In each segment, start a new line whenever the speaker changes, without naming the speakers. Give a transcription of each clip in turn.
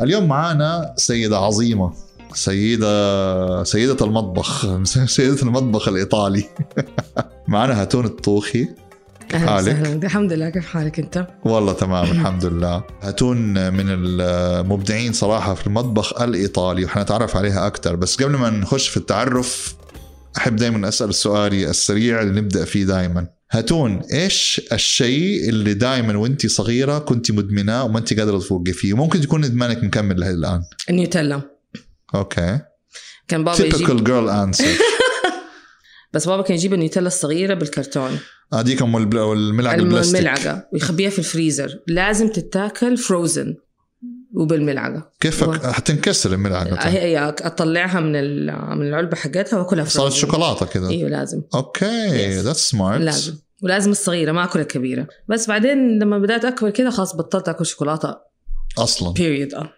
اليوم معانا سيدة عظيمة سيدة سيدة المطبخ سيدة المطبخ الإيطالي معانا هاتون الطوخي كيف
أهلا
حالك؟
وسهلا. الحمد لله كيف حالك انت؟
والله تمام الحمد لله هاتون من المبدعين صراحة في المطبخ الإيطالي وحنتعرف عليها أكثر بس قبل ما نخش في التعرف أحب دايما أسأل سؤالي السريع اللي نبدأ فيه دايما هاتون ايش الشيء اللي دايما وانت صغيره كنت مدمناه وما انت قادره توقفيه ممكن يكون ادمانك مكمل لهي الان
النيوتيلا
اوكي
كان بابا يجيب
typical girl answer
بس بابا كان يجيب النيوتيلا الصغيره بالكرتون
هذيك ام البل- الملعقه
الم-
البلاستيك
الملعقه ويخبيها في الفريزر لازم تتاكل فروزن وبالملعقه
كيف
و-
أك- حتنكسر الملعقه طيب.
هي هي اطلعها من ال- من العلبه حقتها واكلها
صارت
فروزن
شوكولاته كذا
ايوه لازم
اوكي
Yes.
ذاتس سمارت
لازم ولازم الصغيره ما اكلها كبيره بس بعدين لما بدات اكبر كده خلاص بطلت اكل شوكولاته
اصلا
بيريد اه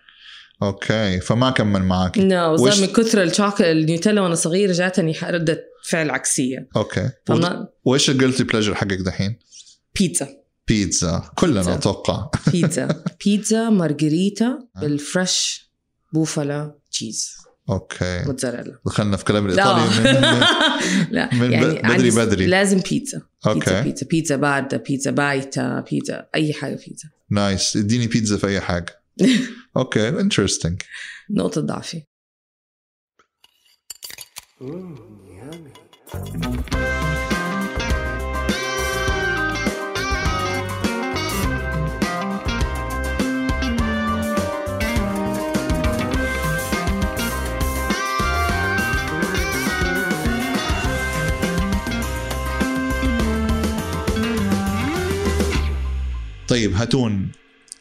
اوكي فما كمل معاك
نو
وش-
صار من كثر الشوكولاته النيوتيلا وانا صغيره جاتني ح- رده فعل عكسيه
اوكي و-
فما
وايش الجلتي بليجر حقك دحين؟
بيتزا
بيتزا كلنا
بيتزا.
اتوقع
بيتزا بيتزا مارجريتا
آه.
بالفريش بوفالا تشيز
اوكي
موتزاريلا
دخلنا في كلام
لا
الايطالي من... من-
لا
من ب-
يعني
بدري
عندي-
بدري.
لازم بيتزا بيتزا
اوكي
بيتزا بيتزا باردة بيتزا بايتة بيتزا أي حاجة بيتزا
نايس اديني بيتزا في اي حاجه اوكي انترستنج
نقطة ضعفي
طيب هاتون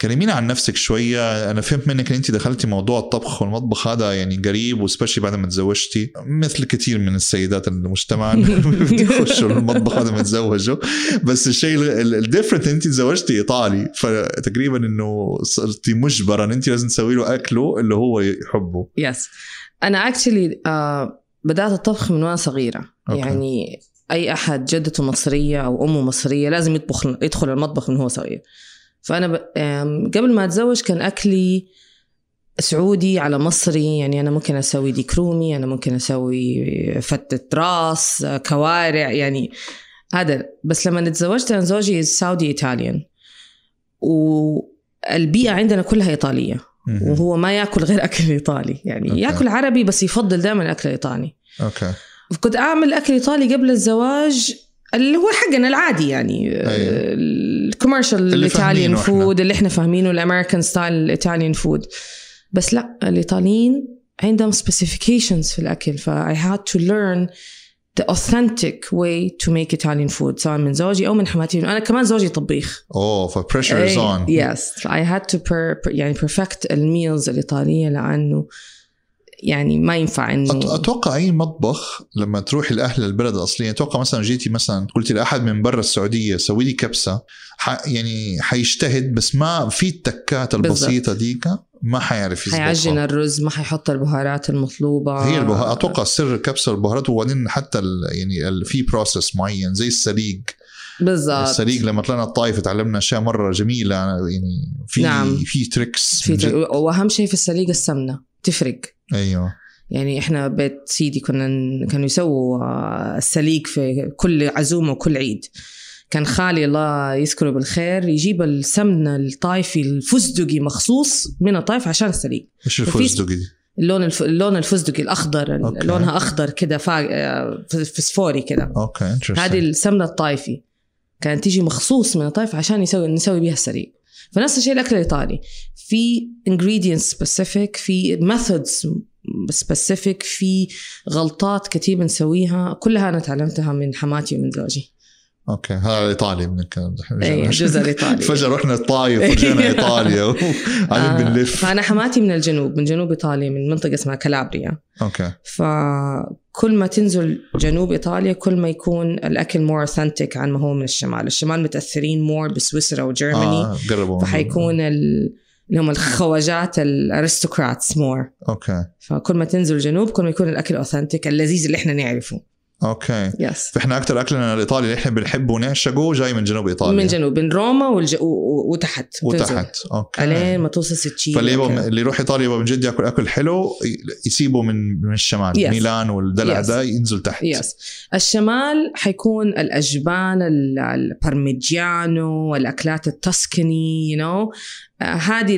كلمينا عن نفسك شوية أنا فهمت منك إن أنت دخلتي موضوع الطبخ والمطبخ هذا يعني قريب وسبيشلي بعد ما تزوجتي مثل كثير من السيدات المجتمع بيخشوا المطبخ بعد ما تزوجوا بس الشيء الديفرنت أنت تزوجتي إيطالي فتقريبا إنه صرتي مجبرة إن أنت لازم تسوي له أكله اللي هو يحبه
يس أنا اكشلي بدأت الطبخ من وأنا صغيرة
أوكي.
يعني أي أحد جدته مصرية أو أمه مصرية لازم يطبخ يدخل المطبخ من هو صغير فأنا ب... آم، قبل ما أتزوج كان أكلي سعودي على مصري يعني أنا ممكن أسوي ديك رومي أنا ممكن أسوي فتة راس آه، كوارع يعني هذا بس لما اتزوجت أنا زوجي سعودي إيطاليان والبيئة عندنا كلها إيطالية
مهم.
وهو ما ياكل غير اكل ايطالي يعني
أوكي.
أوكي. ياكل عربي بس يفضل دائما الاكل الايطالي
أوكي
كنت اعمل اكل ايطالي قبل الزواج اللي هو حقنا العادي يعني
أيوة.
الكوميرشال
اللي
الايطاليان
فاهمينه إحنا.
فود اللي احنا فاهمينه الامريكان ستايل الايطاليان فود بس لا الايطاليين عندهم specifications في الاكل ف I had to learn the authentic way to make Italian food سواء من زوجي او من حماتي انا كمان زوجي طبيخ
أوه فبريشر از
إيه،
أون
يس اي هاد تو يعني بيرفكت الميلز الايطاليه لانه يعني ما ينفع
أت-
انه
اتوقع اي مطبخ لما تروحي لاهل البلد الاصليه اتوقع مثلا جيتي مثلا قلتي لاحد من برا السعوديه سوي لي كبسه ح... يعني حيجتهد بس ما في التكات البسيطه ديك ما حيعرف يظبطها
حيعجن الرز ما حيحط البهارات المطلوبه
هي البه... اتوقع سر كبسه البهارات وبعدين حتى ال... يعني ال... في بروسس معين زي السليق
بالضبط
السليق لما طلعنا الطائف تعلمنا اشياء مره جميله يعني في
نعم.
في تريكس
في تر- واهم شيء في السليق السمنه تفرق
ايوه
يعني احنا بيت سيدي كنا ن- كانوا يسووا آه، السليق في كل عزومه وكل عيد كان خالي الله يذكره بالخير يجيب السمنه الطايفي الفستقي مخصوص من الطايف عشان السليق
ايش
وفي-
الفستق دي؟
اللون الف... اللون الفستقي الاخضر
أوكي.
ال- لونها اخضر كده فا... آه، فسفوري كده
اوكي interesting.
هذه السمنه الطايفي كانت تيجي مخصوص من الطائف عشان يسوي نسوي بيها السريق فنفس الشيء الاكل الايطالي في ingredients specific في methods specific في غلطات كتير بنسويها كلها انا تعلمتها من حماتي ومن زوجي
اوكي هذا ايطالي من الكلام
اي الجزء الايطالي
فجاه رحنا الطايف ورجعنا ايطاليا وبعدين
طيب. آه،
بنلف
فانا حماتي من الجنوب من جنوب ايطاليا من منطقه اسمها كالابريا
اوكي
فكل ما تنزل جنوب ايطاليا كل ما يكون الاكل مور اوثنتيك عن ما هو من الشمال، الشمال متاثرين مور بسويسرا وجيرماني
اه قربوا
فحيكون ال... اللي هم الخواجات الارستقراطس مور
اوكي
فكل ما تنزل جنوب كل ما يكون الاكل اوثنتيك اللذيذ اللي احنا نعرفه
اوكي
يس
فاحنا اكثر اكلنا الايطالي اللي احنا بنحبه ونعشقه جاي من جنوب ايطاليا
من جنوب من روما والج... و... و... وتحت تنزل.
وتحت اوكي
الين ما توصل سيتشيلي
فاللي يبغى اللي يروح ايطاليا يبغى من جد ياكل اكل حلو ي- يسيبه من من الشمال
Yes.
ميلان والدلع
Yes.
ده ينزل تحت
يس الشمال حيكون الاجبان ال- البارميجيانو والاكلات التسكني يو نو آه، هذه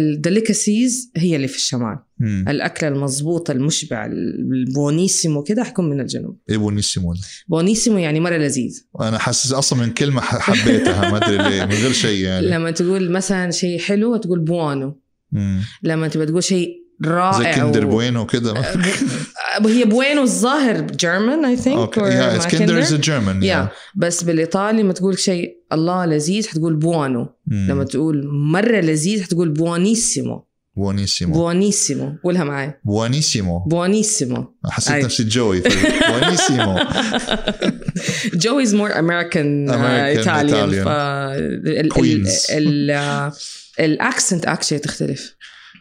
الدليكسيز هي اللي في الشمال
مم.
الاكله المضبوطه المشبع البونيسيمو كده حيكون من الجنوب
ايه بونيسيمو ده؟
بونيسيمو يعني مره لذيذ
انا حاسس اصلا من كلمه ح- حبيتها ما ادري ليه من غير شيء يعني
لما تقول مثلا شيء حلو تقول بوانو
مم.
لما تبى تقول شيء
زي
رائع
كندر
و-
بوينو كده
أب- هي بوينو الظاهر جيرمان اي ثينك
اوكي يا كندر از جيرمان
يا بس بالايطالي لما تقول شيء الله لذيذ حتقول بوانو لما تقول مره لذيذ حتقول بوانيسيمو
بونيسيمو
بوانيسيمو قولها معي
بونيسيمو
بوانيسيمو
حسيت
أيوة.
نفسي جوي بونيسيمو
جو از مور امريكان
American, Italian.
ايطاليان
Queens.
الاكسنت اكشلي تختلف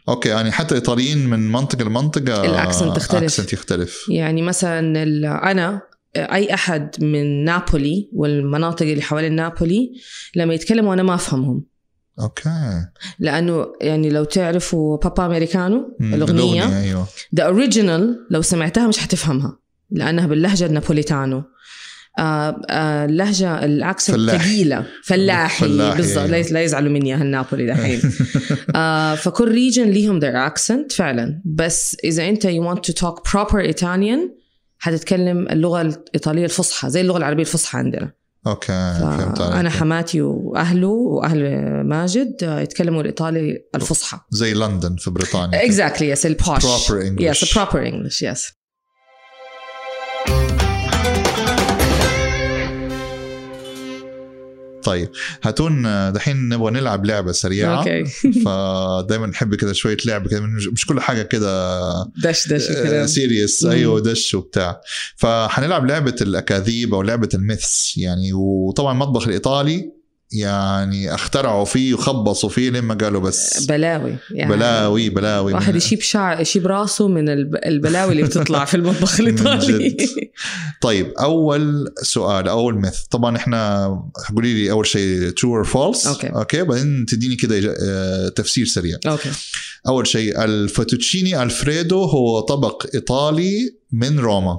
اوكي يعني حتى الايطاليين من منطقه لمنطقه
الأكسنت تختلف.
اكسنت يختلف يعني
يعني مثلا ال- انا اي احد من نابولي والمناطق اللي حوالين نابولي لما يتكلموا انا ما افهمهم
اوكي
لانه يعني لو تعرفوا بابا امريكانو
مم.
الاغنيه
ايوه
ذا اوريجينال لو سمعتها مش حتفهمها لانها باللهجه النابوليتانو آه، آه، اللهجه العكس
فلاح.
الثقيله فلاحي
فلاحي،
بالضبط
أيوة.
لا يز- لا يزعلوا مني اهل نابولي دحين آه، فكل ريجن ليهم ذير اكسنت فعلا بس اذا انت يو ونت تو توك بروبر ايطاليان حتتكلم اللغه الايطاليه الفصحى زي اللغه العربيه الفصحى عندنا
اوكي آه، فهمت عليك
انا حماتي واهله واهل ماجد آه، يتكلموا الايطالي الفصحى
زي لندن في بريطانيا
اكزاكتلي يس البوش
Proper English.
يس بروبر انجلش يس
طيب هاتون آه، دحين نبغى نلعب لعبه سريعه
اوكي
فدايما نحب كده شويه لعب كده مش مش كل حاجه كده
دش دش الكلام
سيريس
مم.
ايوه آه، دش وبتاع فحنلعب لعبه الاكاذيب او لعبه الميثس يعني وطبعا المطبخ الايطالي يعني اخترعوا فيه وخبصوا فيه لما قالوا بس
بلاوي يعني
بلاوي بلاوي
واحد يشيب شعر يشيب راسه من الب- البلاوي اللي بتطلع في المطبخ الايطالي
من جد. طيب اول سؤال اول مث طبعا احنا قولي لي اول شيء ترو اور فولس
أوكي.
اوكي بعدين تديني كده إج- آه، تفسير سريع
اوكي
اول شيء الفاتوتشيني الفريدو هو طبق ايطالي من روما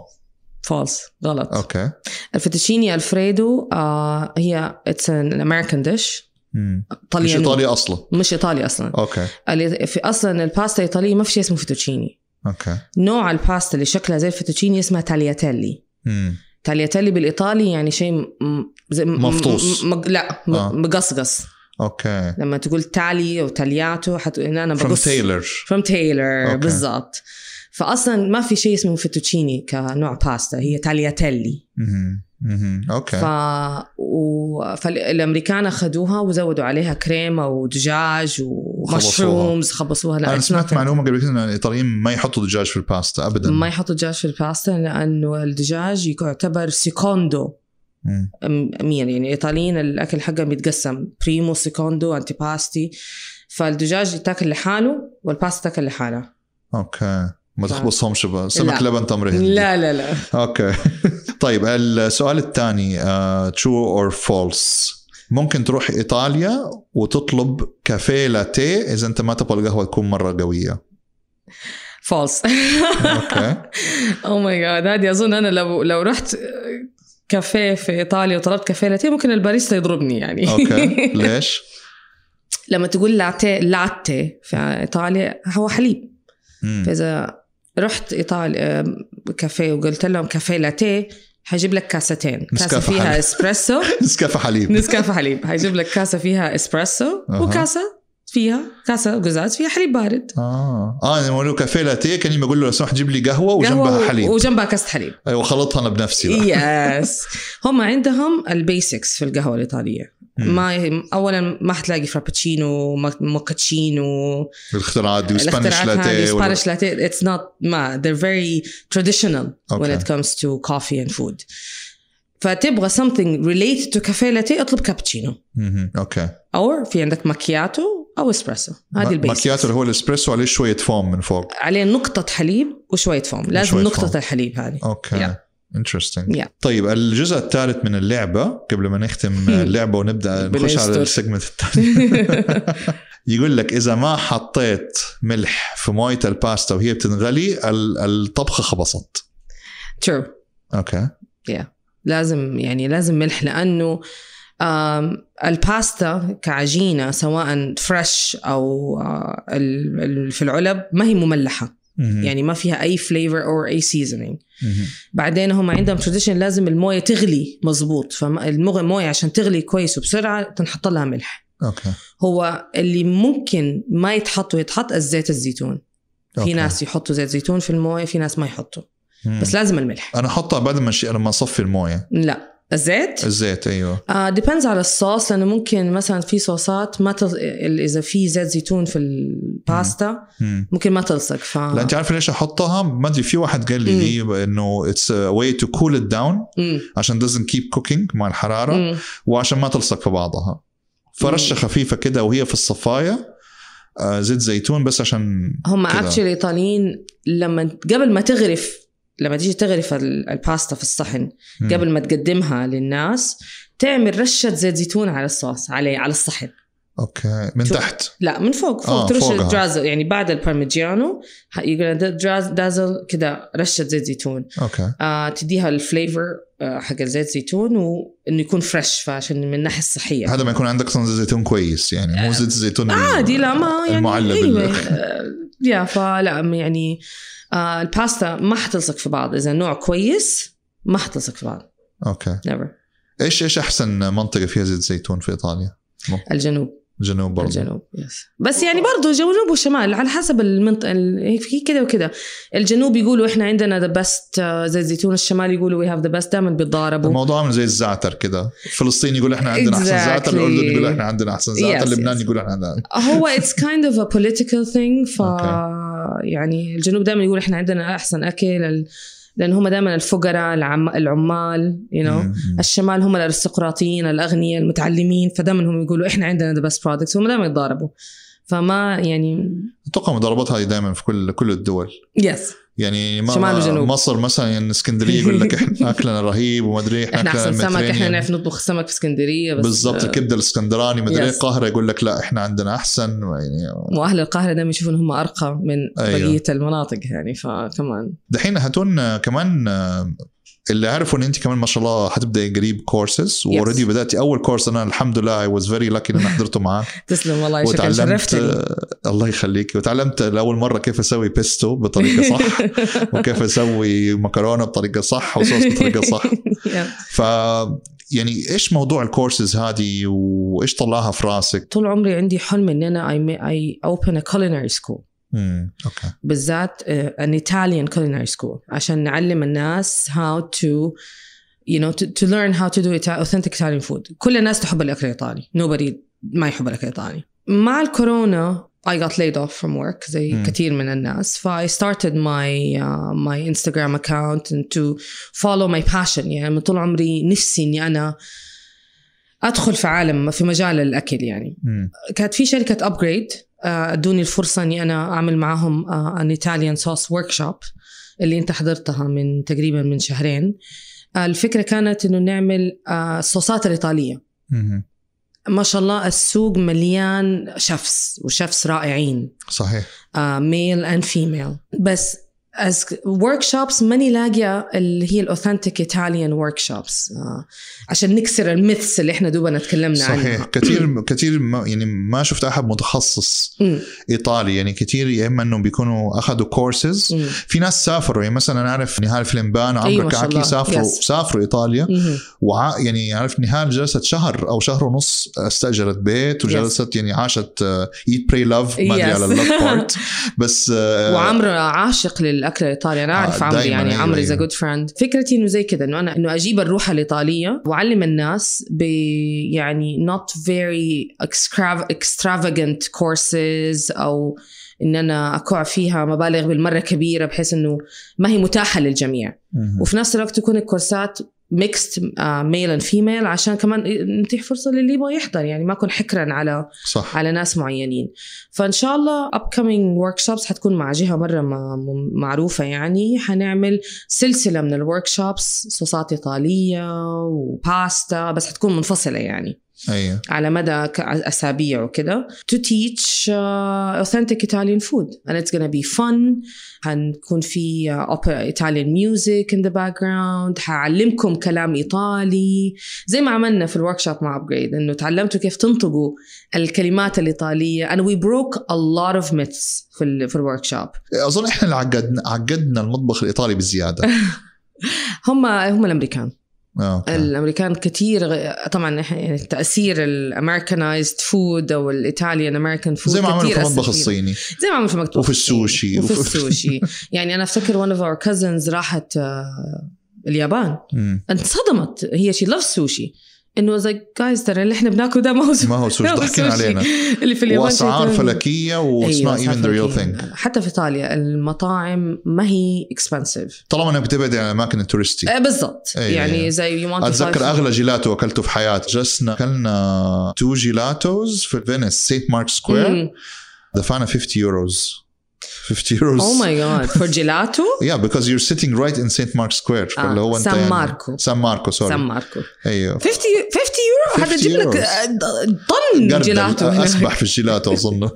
فالس غلط
اوكي
الفيتوشيني الفريدو آه هي اتس ان امريكان ديش
مم. مش
طلياني
ايطالي اصلا
مش ايطالي اصلا
اوكي
اللي- في اصلا الباستا الايطاليه ما في شيء اسمه فيتوتشيني
اوكي
نوع الباستا اللي شكلها زي الفيتوتشيني اسمها تالياتيلي
مم.
تالياتيلي بالايطالي يعني شيء م- زي م-
مفطوص.
م- م- لا م-
آه.
مقصقص
اوكي
لما تقول تالي او تالياتو حت... هنا انا
فروم
بقص
تايلر
فروم تايلر
أوكي.
بالضبط فاصلا ما في شيء اسمه فيتوتشيني كنوع باستا هي تالياتيلي ف...
اوكي
و... فالامريكان اخذوها وزودوا عليها كريمه ودجاج ومشرومز خبصوها لا
انا
it's
سمعت
not-
معلومه قبل كده ان الايطاليين ما يحطوا دجاج في الباستا ابدا
ما يحطوا دجاج في الباستا لانه الدجاج يعتبر سيكوندو
مم.
مين يعني الايطاليين الاكل حقهم بيتقسم بريمو سيكوندو انتي باستي فالدجاج يتاكل لحاله والباستا تاكل لحالها
اوكي ما
ف-
تخبصهمش بقى سمك
لا.
لبن تمر هندي
لا لا لا
اوكي طيب السؤال الثاني آه، ترو اور فولس ممكن تروح ايطاليا وتطلب كافيه لاتيه اذا انت ما تبغى القهوه تكون مره قويه
فالس
اوكي
او ماي جاد Oh هذه اظن انا لو لو رحت كافيه في ايطاليا وطلبت كافيه لاتيه ممكن الباريستا يضربني يعني
اوكي ليش؟
لما تقول لاتيه لاتيه في ايطاليا هو حليب
مم.
فاذا رحت ايطاليا آم، كافيه وقلت لهم كافيه لاتيه حيجيب لك كاستين كاسه
نسكافيه حليب.
فيها اسبريسو
نسكافيه حليب
نسكافيه حليب حيجيب لك كاسه فيها اسبريسو
أها.
وكاسه فيها كاسه قزاز فيها حليب بارد
اه اه انا بقول له كافيه لاتيه كان يجي بقول له لو سمحت جيب لي قهوه وجنبها
آه. قهوة
حليب
وجنبها كاسه حليب
ايوه خلطها انا بنفسي بقى
يس هم عندهم البيسكس في القهوه الايطاليه
مم.
ما اولا ما حتلاقي فرابتشينو مك- موكاتشينو
الاختراعات دي وسبانيش
الاختراعات هذه
لاتيه ولا-
سبانيش لاتيه اتس نوت ما they're very traditional when
Okay.
it comes to coffee and food فتبغى something related to cafe latte اطلب كابتشينو
مهم. اوكي
او في عندك ماكياتو او اسبريسو هذه
ما-
البيسكس
ماكياتو اللي هو الاسبريسو عليه شويه فوم من فوق
عليه نقطة حليب وشوية فوم لازم
وشوية
نقطة
فوم.
الحليب هذه
اوكي
Yeah.
انترستنج
Yeah.
طيب الجزء الثالث من اللعبه قبل ما نختم اللعبه ونبدا نخش على
بالأسطور.
السيجمنت الثاني يقول لك اذا ما حطيت ملح في مويه الباستا وهي بتنغلي ال- الطبخه خبصت
True.
اوكي
لازم يعني لازم ملح لانه آم، الباستا كعجينه سواء فريش او آه، ال- ال- في العلب ما هي مملحه
مهم.
يعني ما فيها اي فليفر او اي سيزونينج
مهم.
بعدين هم عندهم تراديشن لازم المويه تغلي مظبوط فالمويه عشان تغلي كويس وبسرعه تنحط لها ملح
اوكي
هو اللي ممكن ما يتحط ويتحط الزيت الزيتون
أوكي.
في ناس يحطوا زيت زيتون في المويه في ناس ما يحطوا
مم.
بس لازم الملح
انا احطها بعد ما شي... لما اصفي المويه
لا الزيت
الزيت ايوه
ديبندز آه، على الصوص لانه ممكن مثلا في صوصات ما تل... اذا في زيت زيتون في الباستا
مم.
ممكن ما تلصق ف
لا انت عارف ليش احطها ما ادري في واحد قال لي
آه.
إيه،
مم.
لي انه اتس واي تو كول ات داون
مم.
عشان doesn't keep cooking مع الحراره
مم.
وعشان ما تلصق في بعضها فرشه
مم.
خفيفه كده وهي في الصفايه آه، زيت زيتون بس عشان
هم
كده.
اكشلي الايطاليين لما قبل ما تغرف لما تيجي تغرف ال- الباستا في الصحن
مم.
قبل ما تقدمها للناس تعمل رشه زيت زيتون على الصوص علي على الصحن
اوكي من
شو-
تحت
لا من فوق فوق
آه،
آه ترش
فوقها.
درازل يعني بعد البارميجيانو ح- يقول دازل كده رشه زيت زيتون
اوكي
آه تديها الفليفر آه حق الزيت زيتون وانه يكون فريش فعشان من الناحيه الصحيه
هذا ما يكون عندك اصلا زيت زيتون كويس يعني مو زيت زيتون
عادي آه. لا ما يعني
المعلب
أيوة.
ال-
آه، يا فلا م- يعني آه الباستا ما حتلصق في بعض اذا نوع كويس ما حتلصق في بعض
اوكي
never
ايش ايش احسن منطقه فيها زيت زيتون في ايطاليا؟
الجنوب
جنوب برضه
الجنوب يس بس يعني برضه جنوب وشمال على حسب المنطقه ال- هي في كده وكده الجنوب يقولوا احنا عندنا ذا بيست زيت زيتون الشمال يقولوا وي هاف ذا بيست دائما بيتضاربوا
الموضوع عامل زي الزعتر كده فلسطين يقول احنا عندنا احسن زعتر
Exactly.
الاردن يقول احنا عندنا احسن زعتر
Yes,
لبنان
yes.
يقول احنا عندنا
هو اتس كايند اوف ا بوليتيكال ثينج ف
أوكي.
يعني الجنوب دائما يقول احنا عندنا احسن اكل ال- لان هم دائما الفقراء العم... العمال يو you know.
مم، مم.
الشمال هم الارستقراطيين الاغنياء المتعلمين فدائما هم يقولوا احنا عندنا ذا بيست برودكتس هم دائما يتضاربوا فما يعني
اتوقع مضاربات هذه دائما في كل كل الدول
يس
يعني ما
شمال وجنوب.
مصر مثلا يعني اسكندريه يقول لك احنا اكلنا رهيب وما ادري احنا,
احنا احسن سمك احنا
المدرينيان.
نعرف نطبخ سمك في اسكندريه بس آه.
بالضبط الكبده الاسكندراني مدري ايه
Yes.
القاهره يقول لك لا احنا عندنا احسن يعني
واهل القاهره دائما يشوفون هم ارقى من
أيوة.
بقيه المناطق يعني فكمان
دحين هاتون كمان آه، اللي عارفه ان انت كمان ما شاء الله حتبداي قريب كورسز واوريدي بداتي اول كورس انا الحمد لله اي واز فيري لاكي ان انا حضرته معاه
تسلم والله شكرا
وتعلمت
شرفتني
آه، الله يخليك وتعلمت لاول مره كيف اسوي بيستو بطريقه صح وكيف اسوي مكرونه بطريقه صح وصوص بطريقه صح
يا.
ف يعني ايش موضوع الكورسز هذه وايش طلعها في راسك؟
طول عمري عندي حلم ان انا اي اي اوبن ا كولينري سكول
امم اوكي
بالذات آه، ان ايطاليان كولينري سكول عشان نعلم الناس هاو تو you know to, to learn how to do Ita- authentic Italian food كل الناس تحب الاكل الايطالي nobody ما يحب الاكل الايطالي مع الكورونا I got laid off from work زي
مم.
mm. كثير من الناس ف I started my uh, my Instagram account and to follow my passion يعني من طول عمري نفسي اني انا ادخل في عالم في مجال الاكل يعني
أمم.
كانت في آه، شركه ابجريد ادوني الفرصه اني انا اعمل معاهم آه، ان ايطاليان صوص ورك شوب اللي انت حضرتها من تقريبا من شهرين آه، الفكره كانت انه نعمل آه، الصوصات الايطاليه
أمم.
ما شاء الله السوق مليان شفس وشفس رائعين آه،
صحيح
ميل اند فيميل بس as workshops ماني لاقيه اللي هي الاوثنتيك ايطاليان workshops آه، عشان نكسر الميثس اللي احنا دوبنا تكلمنا عنها
صحيح كثير كثير ما يعني ما شفت احد متخصص
مم،
ايطالي يعني كثير يا اما انهم بيكونوا اخذوا كورسز
مم،
في ناس سافروا يعني مثلا انا اعرف نهال فلمبان وعمرو
أيوة، ما شاء
كعكي
الله.
سافروا
Yes.
سافروا ايطاليا
مم.
وع يعني عارف نهال جلست شهر او شهر ونص استاجرت بيت وجلست يعني عاشت ايت براي لاف ما ادري
Yes.
على اللاف بارت بس آه،
وعمرو عاشق للاكل الايطالي انا اعرف
آه،
عمرو
دايماً،
يعني
أيوة،
عمرو از
أيوة.
جود فريند فكرتي انه زي كذا انه انا انه اجيب الروح الايطاليه واعلم الناس ب يعني not very extra- extravagant courses او ان انا اكوع فيها مبالغ بالمره كبيره بحيث انه ما هي متاحه للجميع
مهم.
وفي نفس الوقت تكون الكورسات آه، ميكست ميل اند فيميل عشان كمان نتيح فرصه للي يبغى يحضر يعني ما اكون حكرا على
صح
على ناس معينين فان شاء الله upcoming workshops حتكون مع جهه مره ما- م- معروفه يعني حنعمل سلسله من الوركشوبس صوصات ايطاليه وباستا بس حتكون منفصله يعني
ايوه
على مدى ك- اسابيع وكده to teach uh, authentic Italian food and it's gonna be fun حنكون في uh, opera- Italian music in the background حعلمكم كلام ايطالي زي ما عملنا في الوركشوب مع ابجريد انه تعلمتوا كيف تنطقوا الكلمات الايطاليه and we broke a lot of myths في ال في الوركشوب
اظن احنا اللي عقدنا عقدنا المطبخ الايطالي بزياده
هم هم الامريكان
آه، أوكي.
الامريكان كثير غ- طبعا إح- يعني تاثير الامريكانايزد فود او الايطاليان امريكان فود
زي ما عملوا في المطبخ الصيني
زي ما عملوا في المكتوب
وفي السوشي
وفي
وفي-
السوشي يعني انا افتكر ون اوف اور كازنز راحت آه، اليابان
مم.
انصدمت هي شي لاف سوشي انه زي جايز ترى اللي احنا بناكله ده ما هو سوشي
ما هو سوشي
ما هو
ضحكين
سوشي.
علينا
اللي في اليابان شي
واسعار
تاني.
فلكيه واتس
أيوة،
نوت
أسعار
ايفن ذا ريل
فلكية.
ثينج
حتى في ايطاليا المطاعم ما هي اكسبنسيف
طالما انك بتبعد عن الاماكن التورستي
إيه، بالضبط
أيوة.
يعني زي يو
اتذكر اغلى جيلاتو اكلته في حياتي جلسنا اكلنا تو جيلاتوز في فينيس سيت مارك سكوير
Mm.
دفعنا 50 يوروز 50 يوروز
اوه ماي جاد فور جيلاتو
يا بيكوز يور سيتنج رايت ان سينت مارك سكوير
آه،
فاللي هو انت
سان
يعني-
ماركو.
سان ماركو
سان
سوري
ماركو 50
ايوه
50 يورو هذا
50
جيب لك
يورو.
آه، ض- طن
قرد
جيلاتو هناك.
اسبح في الجيلاتو اظن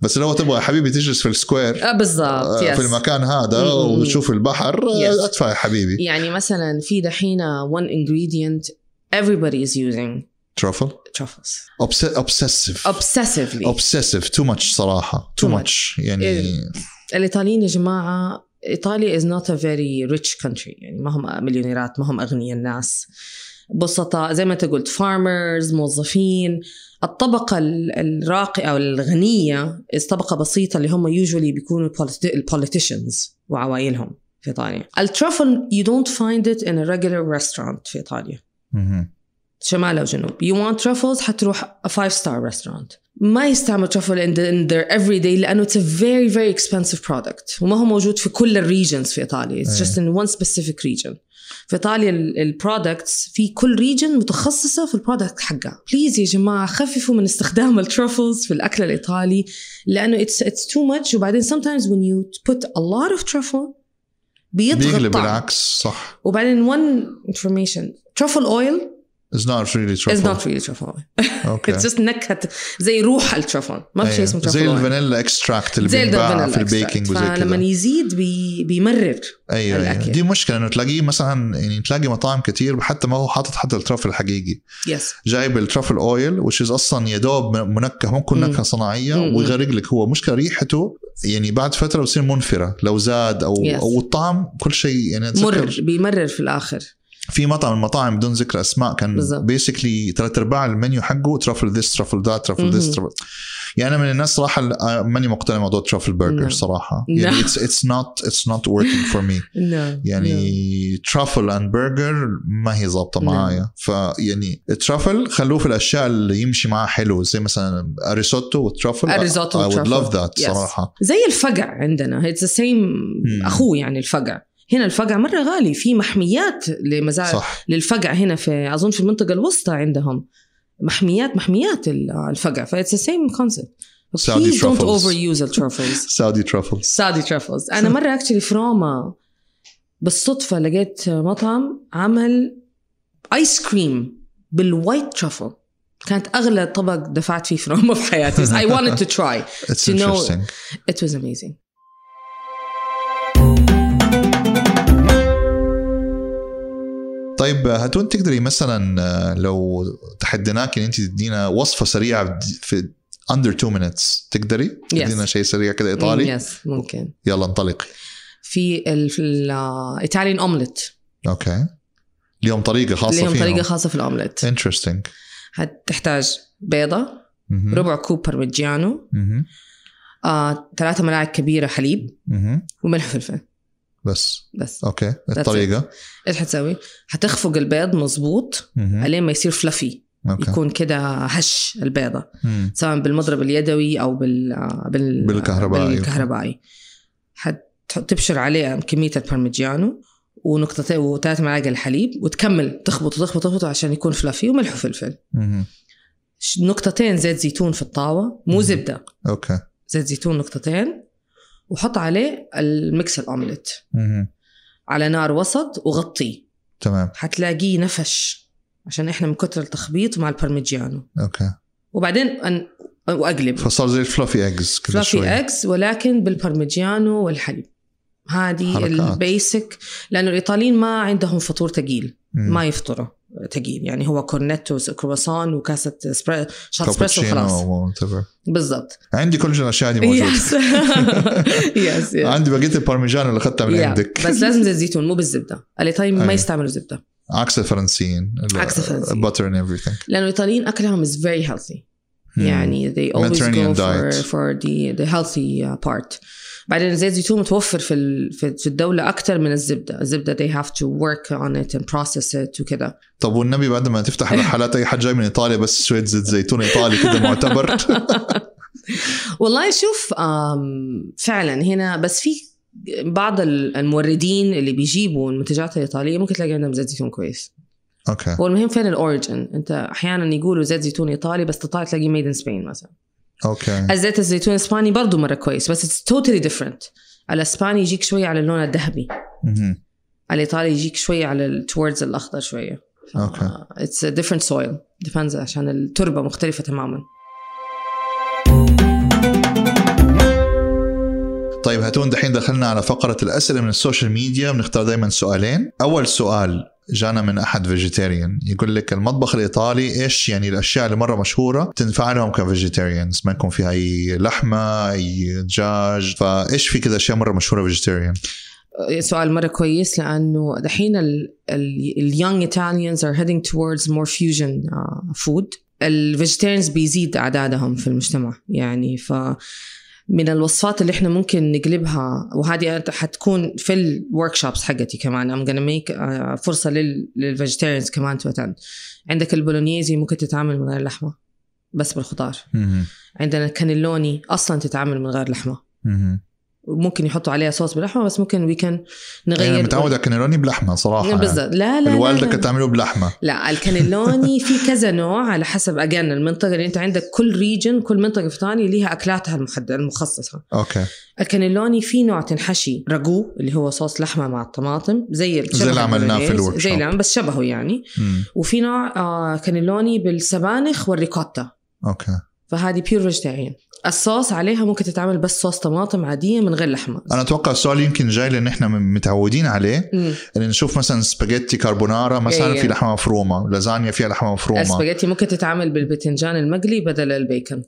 بس لو تبغى يا حبيبي تجلس في السكوير
آه، بالضبط
آه،
يس
في المكان هذا
مم.
وتشوف البحر آه،
Mm-hmm. Yes.
ادفع يا حبيبي
يعني مثلا في دحين one ingredient everybody is using
ترافل
truffles
اوبسيسيف
obsessively
اوبسيسيف تو ماتش صراحه تو
Too
ماتش يعني
الايطاليين يا جماعه ايطاليا is not a very rich country يعني ما هم مليونيرات ما هم اغنياء الناس بسطاء زي ما انت قلت فارمرز موظفين الطبقة ال- الراقية أو الغنية is طبقة بسيطة اللي هم usually بيكونوا البوليتيشنز وعوائلهم في إيطاليا الترفل you don't find it in a regular restaurant في إيطاليا
مهم.
شمال او جنوب يو want ترافلز حتروح فايف ستار ريستورانت ما يستعمل ترافل in, the- in their everyday لانه اتس a very very expensive product وما هو موجود في كل الريجنز في ايطاليا اتس
إيه.
جاست ان one specific region في ايطاليا البرودكتس في كل ريجن متخصصه في البرودكت حقها بليز يا جماعه خففوا من استخدام الترافلز في الاكل الايطالي لانه اتس اتس تو ماتش وبعدين sometimes when you put a lot of truffle بيطغى
بيقلب
الطعم
العكس صح
وبعدين one information truffle oil
از نوت ريلي
It's
ترافل
not really truffle. It's
اوكي
just نكهة زي روح الترفل ما في شيء اسمه
أيوة. زي
ترفل
الفانيلا اكستراكت اللي
زي
بينباع
الفانيلا
في البيكنج وزي
فلما
كذا
يزيد بي بيمرر
ايوه أيوة.
الأكل.
دي مشكله انه تلاقيه مثلا يعني تلاقي مطاعم كتير حتى ما هو حاطط حتى الترافل الحقيقي
يس
جايب الترافل اويل which is اصلا يا دوب منكه ممكن
مم.
نكهه صناعيه
مم.
ويغرق لك هو مشكله ريحته يعني بعد فتره بتصير منفره لو زاد او
Yes.
او الطعم كل شيء يعني أتذكر
مر بيمرر في الاخر
في مطعم من المطاعم بدون ذكر اسماء كان
بالضبط.
بيسكلي ثلاث ارباع المنيو حقه ترافل ذس ترافل ذات ترافل
مهم.
ذس ترافل يعني انا من الناس صراحه ال- آه، ماني مقتنع موضوع ترافل برجر
نعم.
صراحه
نعم.
يعني اتس اتس نوت اتس نوت وركينج فور مي
نعم
يعني ترافل اند برجر ما هي ظابطه
نعم.
معايا فيعني الترافل خلوه في الاشياء اللي يمشي معاه حلو زي مثلا الريسوتو والترافل
الريزوتو
اي وود لاف
والترافل.
ذات
Yes.
صراحه
زي الفقع عندنا اتس سيم
Hmm.
اخوه يعني الفقع هنا الفقع مره غالي في محميات لمزارع
صح
للفقع هنا في اظن في المنطقه الوسطى عندهم محميات محميات ال- الفقع فاتس سيم كونسبت
Saudi
Please don't
truffles.
overuse الترفلز
ساودي ترافلز
سادي ترافلز انا مره اكشلي في روما بالصدفه لقيت مطعم عمل ايس كريم بالوايت ترافل كانت اغلى طبق دفعت فيه في روما في حياتي I wanted to try
اتس
To know-
انترستنج
it was amazing
طيب هتون تقدري مثلا آه، لو تحديناك ان انت تدينا وصفه سريعه في- في اندر 2 minutes تقدري تدينا شيء سريع كده ايطالي
يس Mm, ممكن
يلا انطلقي
في الايطاليان اومليت
اوكي اليوم طريقه خاصه
لهم
فيهم إيه.
طريقه خاصه في الاومليت
انترستنج
هتحتاج بيضه ربع كوب بارميجيانو آه، ثلاثة ملاعق كبيرة حليب وملح وفلفل
بس
بس
اوكي
it.
الطريقه
ايش حتسوي؟ حتخفق البيض مظبوط
مهم.
لين ما يصير فلفي
اوكي
يكون كده هش البيضة
مم.
سواء بالمضرب اليدوي أو بال... آه، بال...
بالكهربائي.
بالكهربائي حت- تبشر عليه كمية البارميجيانو ونقطتين وثلاث ملاعق الحليب وتكمل تخبط وتخبط تخبط عشان يكون فلافي وملح وفلفل
مهم.
ش- نقطتين زيت زيتون في الطاوه مو
مم.
زبده
اوكي
زيت زيتون نقطتين وحط عليه الميكس الاومليت
مهم.
على نار وسط وغطيه
تمام
حتلاقيه نفش عشان احنا من كتر التخبيط مع البارميجيانو
اوكي
وبعدين أن... واقلب
فصار زي الفلافي ايجز كذا شوي
فلافي اكس ولكن بالبارميجيانو والحليب هذه
حركات.
البيسك لانه الايطاليين ما عندهم فطور ثقيل
مم.
ما يفطروا ثقيل يعني هو كورنيتو كرواسون وكاسه اسبريسو شوت اسبريسو
كابتشينو
خلاص
أو whatever.
بالضبط
عندي كل الاشياء هذه موجوده
يس يس يس
عندي بقيه البارميجان اللي اخذتها من
Yeah.
عندك
بس لازم زيت زيتون مو بالزبده الايطاليين
أيوة.
ما يستعملوا زبده
عكس الفرنسيين
عكس الفرنسيين.
باتر اند everything
لانه الايطاليين اكلهم از فيري هيلثي يعني they always go
Mediterranean
for,
diet.
for the, the healthy uh, part بعدين زيت الزيتون متوفر في ال- في في الدولة أكثر من الزبدة الزبدة they have to work on it and process it وكذا
طب والنبي بعد ما تفتح الرحلات اي حد جاي من ايطاليا بس شويه زيت زيتون ايطالي كده معتبر
والله شوف آم، فعلا هنا بس في بعض ال- الموردين اللي بيجيبوا المنتجات الإيطالية ممكن تلاقي عندهم زيت زيتون كويس
اوكي
هو المهم فين الأوريجن أنت أحيانا يقولوا زيت زيتون إيطالي بس تطلع تلاقي ميد إن سبين مثلا
اوكي
الزيت الزيتون الإسباني برضه مرة كويس بس اتس توتالي ديفرنت الإسباني يجيك شوية على اللون الذهبي
مهم.
الايطالي يجيك شويه على ال- towards الاخضر شويه ف-
أوكي.
it's a different soil depends عشان التربه مختلفه تماما
طيب هاتون دحين دخلنا على فقره الاسئله من السوشيال ميديا بنختار دائما سؤالين اول سؤال جانا من احد فيجيتيريان يقول لك المطبخ الايطالي ايش يعني الاشياء اللي مره مشهوره تنفع لهم كفيجيتيريانز ما يكون فيها اي لحمه اي دجاج فايش في كذا اشياء مره مشهوره فيجيتيريان
سؤال مره كويس لانه دحين اليونج ايطاليانز ار هيدينج towards آه، مور فيوجن فود الفيجيتيريانز بيزيد اعدادهم في المجتمع يعني ف من الوصفات اللي احنا ممكن نقلبها وهذه أنت حتكون في الورك شوبس حقتي كمان ام gonna آه، ميك فرصه للفيجيتيريانز كمان تو attend عندك البولونيزي ممكن تتعامل من غير لحمه بس بالخضار عندنا الكانيلوني اصلا تتعامل من غير لحمه ممكن يحطوا عليها صوص باللحمه بس ممكن وي كان نغير
انا يعني متعود على كنيروني بلحمه صراحه يعني.
نعم، بالضبط لا لا، لا
الوالده
لا.
كانت تعمله بلحمه
لا الكانيلوني في كذا نوع على حسب اجان المنطقه اللي انت عندك كل ريجن كل منطقه في ايطاليا ليها اكلاتها المحدده المخصصه
اوكي
الكانيلوني في نوع تنحشي راجو اللي هو صوص لحمه مع الطماطم زي
زي اللي عملناه في الورك
زي
شوب.
اللي عم- بس شبهه يعني
مم.
وفي نوع آه كانيلوني بالسبانخ والريكوتا
اوكي
فهذه بيور فيجيتيريان الصوص عليها ممكن تتعمل بس صوص طماطم عاديه من غير لحمه
انا اتوقع السؤال يمكن جاي لان احنا متعودين عليه
مم.
ان نشوف مثلا سباجيتي كاربونارا مثلا
إيه.
في لحمه مفرومه لازانيا فيها لحمه مفرومه
السباجيتي ممكن تتعمل بالباذنجان المقلي بدل البيكن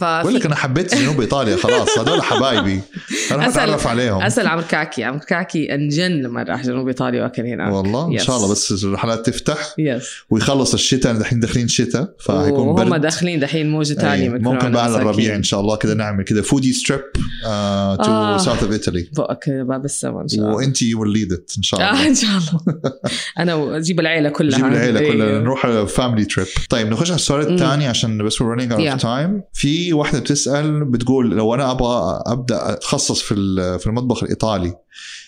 بقول لك
ففي
انا حبيت جنوب ايطاليا خلاص هذول حبايبي انا
أسأل-
بتعرف عليهم
اسال عمرو كعكي عمرو كعكي انجن لما راح جنوب ايطاليا واكل هناك
والله ان
Yes.
شاء الله بس الرحلات تفتح
يس
ويخلص الشتاء دحين داخلين شتاء فهيكون
وهم
برد
داخلين دحين موجه ثانيه
إيه، ممكن بعد الربيع ان شاء الله كده نعمل كده فودي ستريب تو
آه.
ساوث اوف ايطالي
بقك باب السما ان شاء الله
وانت يو ليد ان شاء الله
آه ان شاء الله انا اجيب العيله كلها
نجيب العيله
إيه.
كلها نروح فاملي تريب طيب نخش على السؤال
مم.
الثاني عشان بس we're running out
Yeah.
of time في واحده بتسال بتقول لو انا ابغى ابدا اتخصص في ال- في المطبخ الايطالي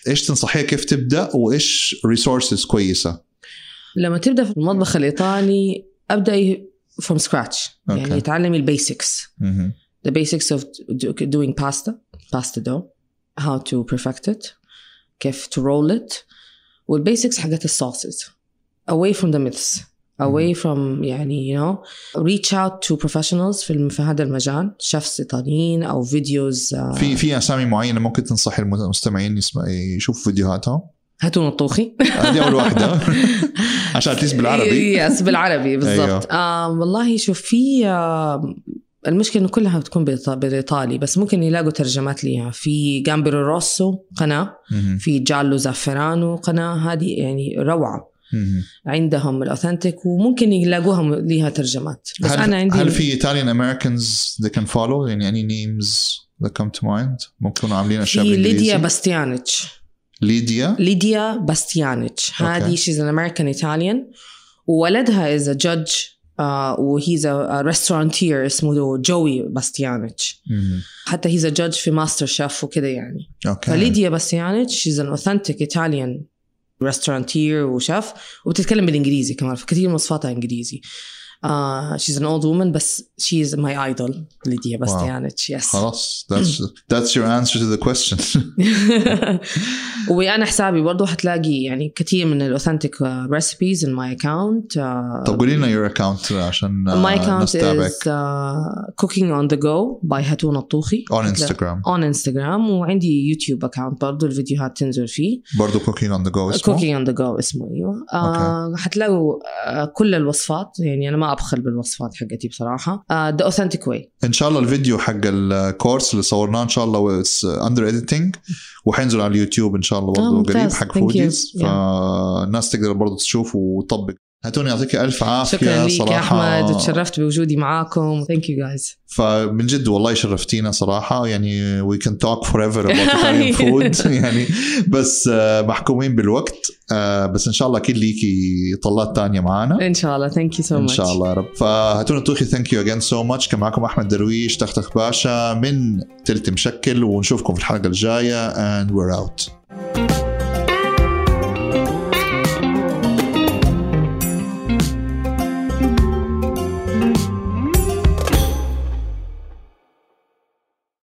ايش تنصحيها كيف تبدا وايش ريسورسز كويسه
لما تبدا في المطبخ الايطالي ابدا فروم سكراتش
أوكي.
يعني يتعلمي البيسكس
مهم.
the basics of do- doing pasta, pasta dough, how to perfect it, كيف to roll it, والبيسكس حقت الصوصز away from the myths away from يعني you know reach out to professionals في, الم- في هذا المجال شيفs إيطاليين أو فيديوز آه،
في في اسامي معينه ممكن تنصحي المستمعين يسمع يشوفوا فيديوهاتها
هاتون الطوخي
هذه اول واحده عشان تليس بالعربي
يس بالعربي بالضبط آه والله شوف في آه المشكله انه كلها بتكون بالإيط- بالايطالي بس ممكن يلاقوا ترجمات ليها في جامبرو روسو قناه
مهم.
في جالو زعفرانو قناة هذه يعني روعة
مهم.
عندهم الأوثنتيك وممكن يلاقوها م- ليها ترجمات بس
هل
أنا عندي
هل في ايطاليان امريكانز they can follow يعني any names that come to mind ممكن يكونوا عاملين اشياء
في
بالإنجليزي؟
ليديا باستيانيتش
ليديا
ليديا باستيانيتش هذه
أوكي.
شيز ان امريكان ايطاليان وولدها از ا جادج آه، وهيز ا ريستورانتير اسمه جوي باستيانيتش
مهم.
حتى هيز ا جادج في ماستر شيف وكذا يعني
اوكي
فليديا باستيانيتش شيز ان اوثنتيك ايطاليان ريستورانتير وشاف وبتتكلم بالانجليزي كمان فكثير من Uh, وصفاتها انجليزي شيز ان اولد وومن بس شي از ماي ايدول ليديا باستيانيتش يس
خلاص that's that's your answer to the question
وانا حسابي برضه حتلاقي يعني كثير من uh, الاوثنتيك ريسبيز ان ماي اكونت Uh,
طب قولي لنا your account عشان آه،
ماي
الناس
اكونت
تتابعك
از كوكينج اون ذا جو باي هاتون الطوخي
on Instagram
اون انستغرام وعندي يوتيوب اكونت برضه الفيديوهات تنزل فيه
برضه cooking on the go اسمه
كوكينج اون ذا جو اسمه ايوه آه حتلاقوا آه كل الوصفات يعني انا ما ابخل بالوصفات حقتي آه، بصراحه ذا اوثنتيك واي
ان شاء الله الفيديو حق الكورس اللي صورناه ان شاء الله اندر editing وحينزل على اليوتيوب ان شاء الله
آه،
برضه
ممتاز.
قريب حق
Thank you.
فوديز
Yeah.
فالناس تقدر برضه تشوف وتطبق هاتوني يعطيك الف عافيه
شكرا لك يا
صراحه
احمد وتشرفت بوجودي معاكم ثانك يو جايز
فمن جد والله شرفتينا صراحه يعني وي كان توك فور ايفر اباوت ايطاليان فود يعني بس آه، محكومين بالوقت آه، بس ان شاء الله اكيد ليكي طلات تانية معانا
ان شاء الله ثانك يو سو
ان
ماتش
شاء الله يا رب فهاتونا طوخي ثانك يو اجين سو ماتش كان معكم احمد درويش تختخ باشا من تلت مشكل ونشوفكم في الحلقه الجايه اند وير اوت